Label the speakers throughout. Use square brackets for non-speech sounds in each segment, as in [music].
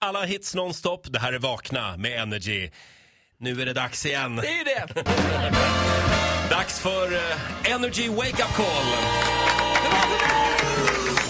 Speaker 1: Alla hits nonstop. Det här är Vakna med Energy. Nu är det dags igen.
Speaker 2: Det är ju det!
Speaker 1: Dags för eh, Energy Wake Up Call.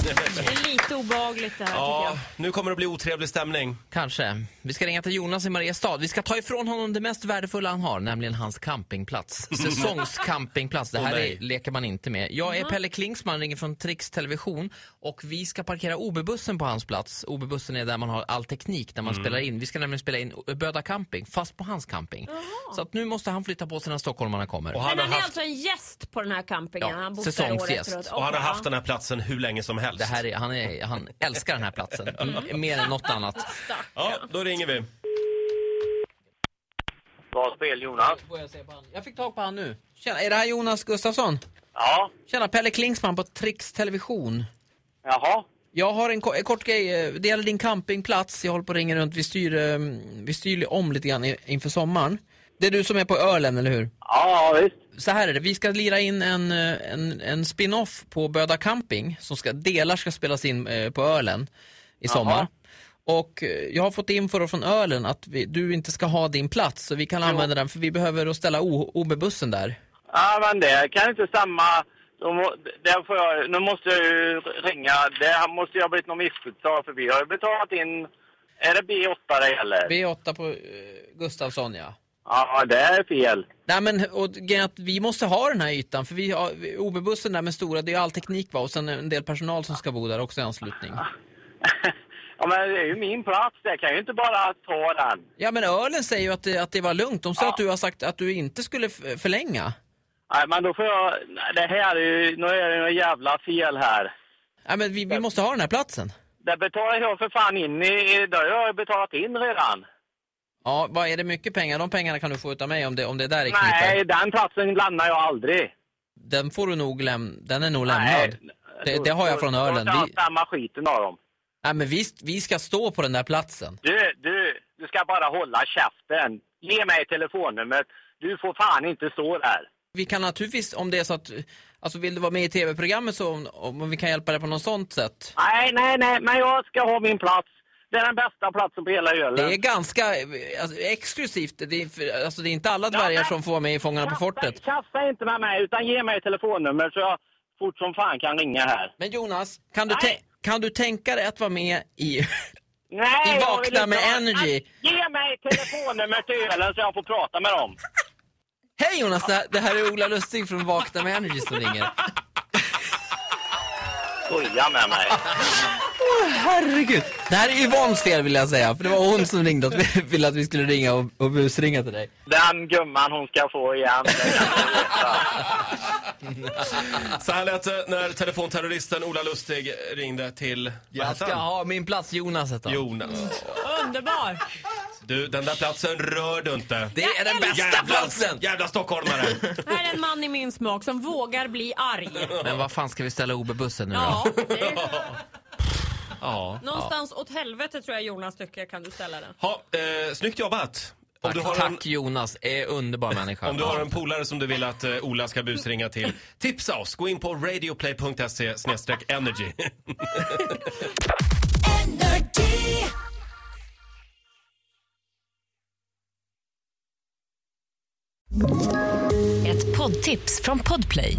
Speaker 3: Det är lite obehagligt det här
Speaker 1: Ja,
Speaker 3: tycker
Speaker 1: nu kommer det bli otrevlig stämning.
Speaker 2: Kanske. Vi ska ringa till Jonas i Mariestad. Vi ska ta ifrån honom det mest värdefulla han har, nämligen hans [laughs] campingplats. Säsongscampingplats. Det
Speaker 1: Åh,
Speaker 2: här
Speaker 1: nej.
Speaker 2: är, leker man inte med. Jag är Pelle Klingsman, ringer från Trix Television och vi ska parkera OB-bussen på hans plats. OB-bussen är där man har all teknik när man spelar in. Vi ska nämligen spela in Böda camping, fast på hans camping. Så att nu måste han flytta på sig när stockholmarna kommer.
Speaker 1: Och
Speaker 3: jag.
Speaker 1: han
Speaker 3: Men
Speaker 1: har
Speaker 3: han är
Speaker 1: haft,
Speaker 3: alltså en gäst på den här campingen.
Speaker 2: Ja,
Speaker 3: han bor där året
Speaker 2: säsongsgäst.
Speaker 3: runt.
Speaker 1: och han har
Speaker 3: Okej,
Speaker 1: haft den här platsen hur länge som helst.
Speaker 2: Det här är, han, är, han älskar den här [laughs] platsen, M- mer än något annat.
Speaker 1: Ja, då ringer vi.
Speaker 4: Bra spel Jonas.
Speaker 2: Jag fick tag på han nu. Tjena, är det här Jonas Gustafsson?
Speaker 4: Ja,
Speaker 2: Tjena, Pelle Klingsman på Trix Television.
Speaker 4: jaha.
Speaker 2: Jag har en, ko- en kort grej, eh, det gäller din campingplats. Jag håller på och ringer runt, vi styr, eh, vi styr om lite grann i- inför sommaren. Det är du som är på ölen, eller hur?
Speaker 4: Ja, ja, visst.
Speaker 2: Så här är det, vi ska lira in en, eh, en, en spin-off på Böda camping. Som ska, delar ska spelas in eh, på ölen i sommar. Och eh, jag har fått info då från ölen att vi, du inte ska ha din plats. Så vi kan använda den, för vi behöver att ställa O- OB-bussen där.
Speaker 4: Ja, men det kan inte samma... Då må- Där får jag, nu måste jag ju ringa. Det här måste ju ha blivit något missförstånd för vi har ju betalat in... Är det B8 det gäller?
Speaker 2: B8 på eh, Gustafsson, ja.
Speaker 4: Ja, det är fel. [laughs]
Speaker 2: Nej men och, grejen är att vi måste ha den här ytan för vi har vi- OB-bussen där med stora, det är all teknik va och sen en del personal som ska bo där också i anslutning.
Speaker 4: ja, men det är ju min plats. Jag kan ju inte bara ta den.
Speaker 2: Ja men ölen säger ju att det, att det var lugnt, de sa att du har sagt att du inte skulle f- förlänga.
Speaker 4: Nej, men då får jag... nej, Det här är ju... Nu är det något jävla fel här.
Speaker 2: Nej men vi, vi måste ha den här platsen.
Speaker 4: Det betalar jag för fan in i... i- Det har jag ju betalat in redan.
Speaker 2: Ja, vad är det mycket pengar? De pengarna kan du få utav mig om det, om det där är kniper.
Speaker 4: Nej, den platsen lämnar jag aldrig.
Speaker 2: Den får du nog lämna, den är nog lämnad. Det, det har jag från ölen.
Speaker 4: Vi...
Speaker 2: Vi,
Speaker 4: samma skiten av dem.
Speaker 2: nej men vi, vi ska stå på den där platsen.
Speaker 4: Du, du, du ska bara hålla käften. Ge mig telefonnumret. Du får fan inte stå där.
Speaker 2: Vi kan naturligtvis, om det är så att, alltså vill du vara med i tv-programmet så om, om vi kan hjälpa dig på något sånt sätt.
Speaker 4: Nej, nej, nej, men jag ska ha min plats. Det är den bästa platsen på hela ölen.
Speaker 2: Det är ganska eh, alltså, exklusivt. Det är, för- alltså, det är inte alla dvärgar som får vara med i Fångarna på fortet.
Speaker 4: Kasta inte med mig, utan ge mig telefonnummer så jag fort som fan kan ringa här.
Speaker 2: Men Jonas, kan du,
Speaker 4: Nej.
Speaker 2: tän- kan du tänka dig att vara med i... [laughs]
Speaker 4: Nej,
Speaker 2: Vi
Speaker 4: jag
Speaker 2: vaknar
Speaker 4: vill inte
Speaker 2: med
Speaker 4: ha-
Speaker 2: energy.
Speaker 4: Nej, Ge mig telefonnummer till ölen så jag får prata med dem.
Speaker 2: Hej Jonas, det här, det här är Ola Lustig från Vakna med Energy som ringer.
Speaker 4: Skoja med mig.
Speaker 2: Herregud! Det här är Yvonnes fel vill jag säga, för det var hon som ringde och ville att vi skulle ringa och, och busringa till dig.
Speaker 4: Den gumman hon ska få igen. det kan jag veta.
Speaker 1: Så här lät det när telefonterroristen Ola Lustig ringde till... vad
Speaker 2: Jag
Speaker 1: hette
Speaker 2: ska
Speaker 1: han?
Speaker 2: ha min plats Jonas hette han.
Speaker 1: Jonas.
Speaker 3: jag. Underbar!
Speaker 1: Du, den där platsen rör du inte.
Speaker 2: Det är den bästa platsen!
Speaker 1: jävla stockholmare!
Speaker 2: [laughs]
Speaker 3: Här är en man i min smak som vågar bli arg.
Speaker 2: Men vad fan ska vi ställa OB-bussen nu då?
Speaker 3: Ja, det är,
Speaker 2: ja.
Speaker 3: någonstans åt helvete tror jag Jonas tycker kan du ställa den.
Speaker 1: ha, eh, snyggt jobbat! Om
Speaker 2: Tack,
Speaker 1: du, har en,
Speaker 2: tack Jonas, är underbar människa.
Speaker 1: om du har en polare som du vill att eh, Ola ska busringa till, tipsa oss! Gå in på radioplay.se energy.
Speaker 5: Ett poddtips från Podplay.